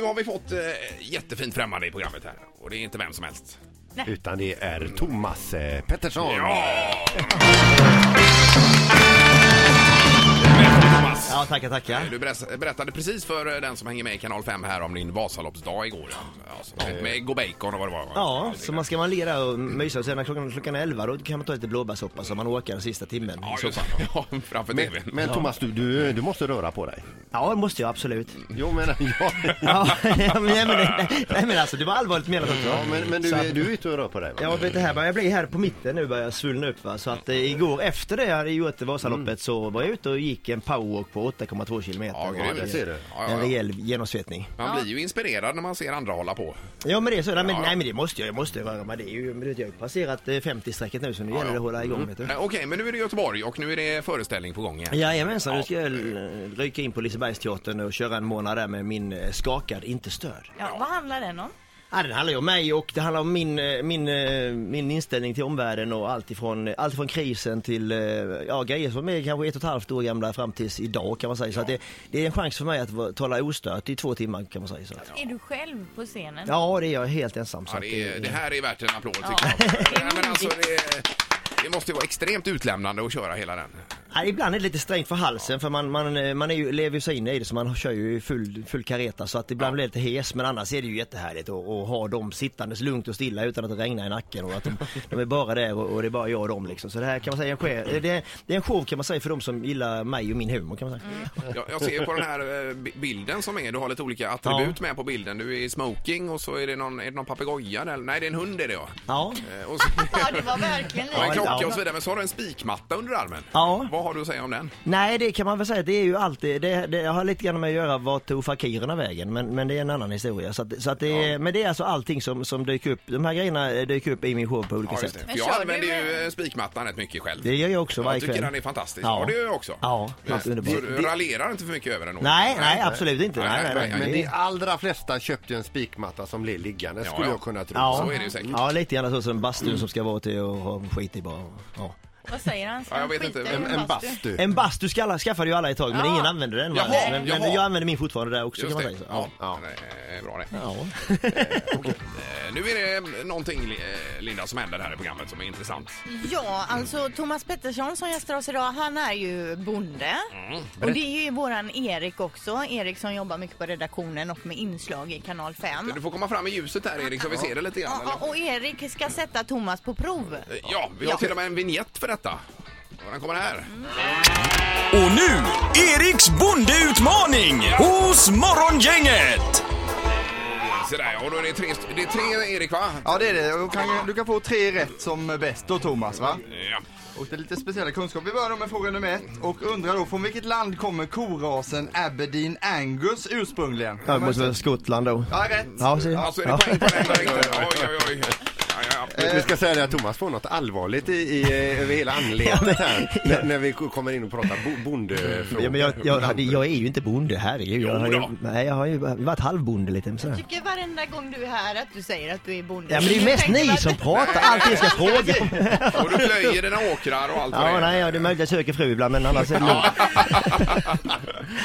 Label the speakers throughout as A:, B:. A: nu har vi fått eh, jättefint främmande i programmet här. Och det är inte vem som helst.
B: Utan det är Thomas eh, Pettersson.
A: Ja! Välkommen, Thomas.
C: Ja, tackar, tackar.
A: Du beräs- berättade precis för eh, den som hänger med i Kanal 5 här om din Vasaloppsdag igår. ja. Ja, som hängt med Go Bacon och vad det var.
C: Ja, så man ska man lira och mysa och sen när klockan, klockan är 11 då kan man ta lite blåbärssoppa så man åker den sista timmen.
A: Ja,
C: Så-
A: just det. Ja, framför
B: Men,
A: tvn.
B: men Thomas, du, du, du måste röra på dig.
C: Ja, det måste jag absolut.
B: Jo, men, ja,
C: Ja, men, nej, men, nej, men alltså det var allvarligt menat också.
B: ja, men, men du,
C: Så
B: är-
C: att-
B: du är ute och rör på dig. Va?
C: Ja, vet du, här, börjar jag blir här på mitten nu börjar jag svullna upp va. Så att eh, igår efter det jag hade gjort Vasaloppet så var jag ute och gick en powerwalk på 8,2 kilometer.
A: Mm. Ja, grymt.
C: det-
B: Det ser du.
A: Ja, ja,
C: En
A: ja.
C: rejäl genomsvettning.
A: Man blir ju inspirerad när man ser andra hålla på.
C: Ja men det är så, nej men,
A: Ja.
C: nej, men det måste jag, jag måste röra mig. Det är ju, men du vet, jag har ju passerat eh, 50-strecket nu så nu gäller det att hålla igång vet du.
A: Eh, Okej, men nu är det Göteborg och nu är det föreställning på gång igen.
C: Jajamensan, nu ska jag eh, ryka in på Lisebergsteatern och köra en månad där med min eh, Skakad, inte störd.
D: Ja, vad handlar den om?
C: Ja, den handlar ju om mig och det handlar om min, eh, min, eh, min inställning till omvärlden och allt ifrån, allt ifrån krisen till eh, ja, grejer som är kanske ett och ett halvt år gamla fram tills idag kan man säga. Så att det, det är en chans för mig att vara- tala ostört i två timmar kan man säga. Så. att-
D: Är du själv på scenen?
C: Ja, det är jag helt ensam. Så
A: Ja,
C: att
A: det, är,
C: det-
A: det här är värt en applåd tycker
D: Ja.
A: jag.
D: Det är
A: Nej, men alltså,
D: modigt.
A: det, det måste ju vara extremt utlämnande att köra hela den.
C: Ja, ibland är det lite strängt för halsen för man, man, eh, man är ju, lever ju sig in i det så man kör ju i full, full kareta så att ibland blir det lite hes men annars är det ju jättehärligt att, att ha dem sittandes lugnt och stilla utan att det regnar i nacken och att de, de är bara där och, och det är bara jag och dem liksom. Så det här kan man säga är en show, det, är- det är en show kan man säga för de som gillar mig och min humor kan man säga.
A: Jag, jag ser på den här eh, bi- bilden som är, du har lite olika attribut med på bilden. Du är i smoking och så är det någon, är det någon papegoja där? Nej, det är en hund är det ja.
C: Ja.
A: Eh, Och så,
D: Ja, det var verkligen
A: och en
C: Ja,
A: klocka
C: ja.
A: och så vidare. Men så har du en spikmatta under armen.
C: Ja.
A: Vad har du att säga om den?
C: Nej det kan man väl säga, det är ju alltid, det, det har lite grann med att göra vart tog fakirerna vägen men, men det är en annan historia. Så att, så att det är, Men det är alltså allting som, som dyker upp, de här grejerna eh, dyker upp i min show på olika
A: Ja, just
C: sätt.
A: det.
D: Men
A: För jag
D: kör du
A: använder ju
D: med-
A: eh, spikmattan rätt mycket själv.
C: Det gör jag också varje
A: Jag tycker
C: kväll.
A: den är fantastisk. Ja,
C: Ja.
A: det gör jag också. Eh,
C: Ja, helt
A: Så
C: underbart.
A: du raljerar inte för mycket över den? då?
C: Nej, nej, absolut inte.
A: Nej,
C: Nej,
A: nej,
C: nej,
A: nej,
C: nej.
B: Men
C: Det-
B: de allra flesta köpte en spikmatta som blev liggande,
A: Ja,
B: skulle
A: ja.
B: jag kunna tro.
C: Ja.
A: Så är det ju säkert. Mm.
C: Ja, lite grann så som bastun som ska vara till och ha skit i bara. Ja.
D: Vad säger han? Ska
A: Ja, jag
D: han
A: vet
D: skita
A: inte.
D: i
B: En, en bastu.
C: En bastu skalla- skaffade ju alla ett tag, men
D: Ja.
C: ingen använder den. va?
A: Jaha,
C: men,
A: jaha.
C: men jag använder min fortfarande där också
A: Just
C: kan man
A: det.
C: säga.
A: Ja,
C: Så.
A: ja. det är bra det.
C: Ja.
A: Eh, Nu är det någonting, eh, Linda, som händer här i programmet som är intressant.
D: Ja, alltså Thomas Pettersson som gästar oss idag, han är ju bonde. Och det är ju våran Erik också. Erik som jobbar mycket på redaktionen och med inslag i Kanal 5.
A: Du får komma fram i ljuset här, Erik, så vi ser det lite grann.
D: Ja,
A: eller?
D: och Erik ska sätta Thomas på prov.
A: Eh, Ja, vi har till och med en vignett för detta. Och Den kommer här.
C: Mm.
E: Och nu, Eriks bondeutmaning hos Morgongänget!
A: Så där, ja. Och då är det tre, st- det är tre Erik, va?
F: Ja det är det. Du kan, du kan få tre rätt som bäst då Thomas va?
A: Ja.
F: Och det är lite speciella kunskaper. Vi börjar då med fråga nummer ett och undrar då från vilket land kommer korasen Aberdeen Angus ursprungligen?
C: Ja, det måste vara Skottland då.
F: Ja, rätt.
C: Ja, så,
A: Alltså, är det
C: ja.
A: poäng på den där? riktigt? Oj, oj, oj. Ja, ja, ja.
B: Eh, Vi ska säga det att Thomas får något allvarligt i, i, eh, över hela anledningen här när, när vi kommer in och pratar bo, bondefrågor.
C: Ja, men jag, jag, hade- jag är ju inte bonde, herregud. Jag har
A: Jo
C: ju,
A: då.
C: nej, jag har ju varit halvbonde lite. men Så.
D: Jag tycker varenda gång du är här att du säger att du är bonde.
C: Ja, men det är ju
D: Jag
C: mest
D: tänkte
C: ni
D: bara-
C: som pratar, allting ska fråga.
A: Och du plöjer dina åkrar och allt vad det
C: Ja,
A: är.
C: nej, ja, det är möjligt jag söker fru ibland, men annars är det lugnt.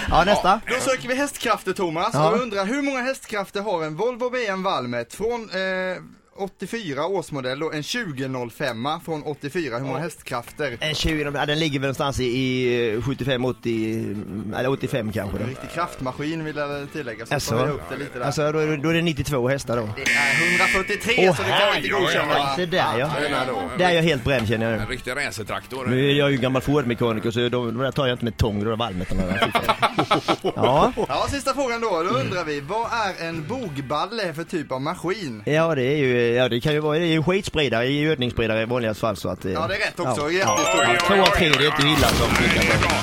C: Ja, nästa.
F: Då söker vi hästkrafter Thomas
C: Ja.
F: och undrar hur många hästkrafter har en Volvo BM Valmet från eh, 84 årsmodell och en 2005 från 84. Hur många hästkrafter?
C: En 20, ja, den ligger väl någonstans i, i 75, 80, eller 85 kanske. Då.
F: En riktig kraftmaskin vill jag tillägga. Typ Så
C: Alltså.
F: tar jag upp det lite där.
C: Alltså då är, det- då är det 92 hästar då.
F: Det är 143 så det kan vi inte
A: herregud.
F: godkänna.
A: Ja,
C: Det där ja.
A: Den här då.
C: Där är jag helt bränd känner jag nu.
A: En riktig racertraktor.
C: Nu är jag ju gammal Ford-mekaniker så de, de där tar jag inte med tång, då är det valmeterna där. Ja.
F: Ja, sista frågan då. Då undrar vi, vad är en bogballe för typ av maskin?
C: ja, det är ju, ja det kan ju vara, det är ju en skitspridare, det är ju gödningsspridare i vanligast fall så att... eh,
F: Ja, det är rätt också.
A: Oj, oj,
F: Jättestort.
A: oj,
C: Två av tre,
A: oj,
C: det är inte
A: oj,
C: illa
A: oj.
C: som
A: Nej,
C: funkar.
A: det är bra.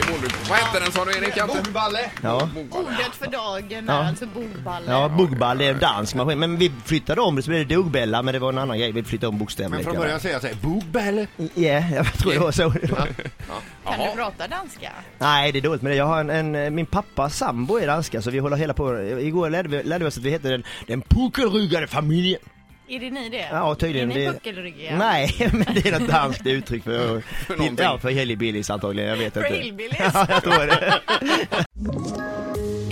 A: Det är målbruk. Vad hette den sa du Erik? Att-
F: Bogballe.
C: Ja.
D: Ordet för dagen är
C: Ja.
D: alltså bogballe.
C: Ja, Bugball är en dansk maskin, men vi flyttade om det så blev det Dogbella, men det var en annan grej, vi flyttade om bokstäverna.
B: Men från
C: lite
B: början
C: grann.
B: säger jag så här, boobelle.
C: Ja, jag tror det var så.
D: Kan
A: Jaha.
D: du prata danska?
C: Nej, det är dåligt med det. Jag har en, en min pappa sambo är danska så vi håller hela på. Igår lärde vi, lärde vi oss att vi heter den, den puckelryggade familjen.
D: Är det ni det?
C: Ja, tydligen.
D: Är ni
C: det-
D: puckelryggiga?
C: Nej, men det är något danskt uttryck för... för
A: någonting.
C: ja, för hillbillies antagligen. Jag vet
D: För
C: inte.
D: hillbillies?
C: Ja, jag tror det.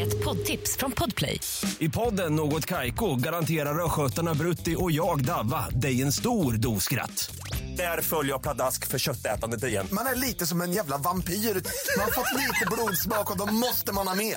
G: Ett Ett tips från Podplay.
E: I podden Något Kaiko garanterar östgötarna Brutti och jag, Davva, dig en stor dos skratt. Där följer jag pladask för köttätandet igen.
H: Man är lite som en jävla vampyr. Man har fått lite blodsmak och då måste man ha mer.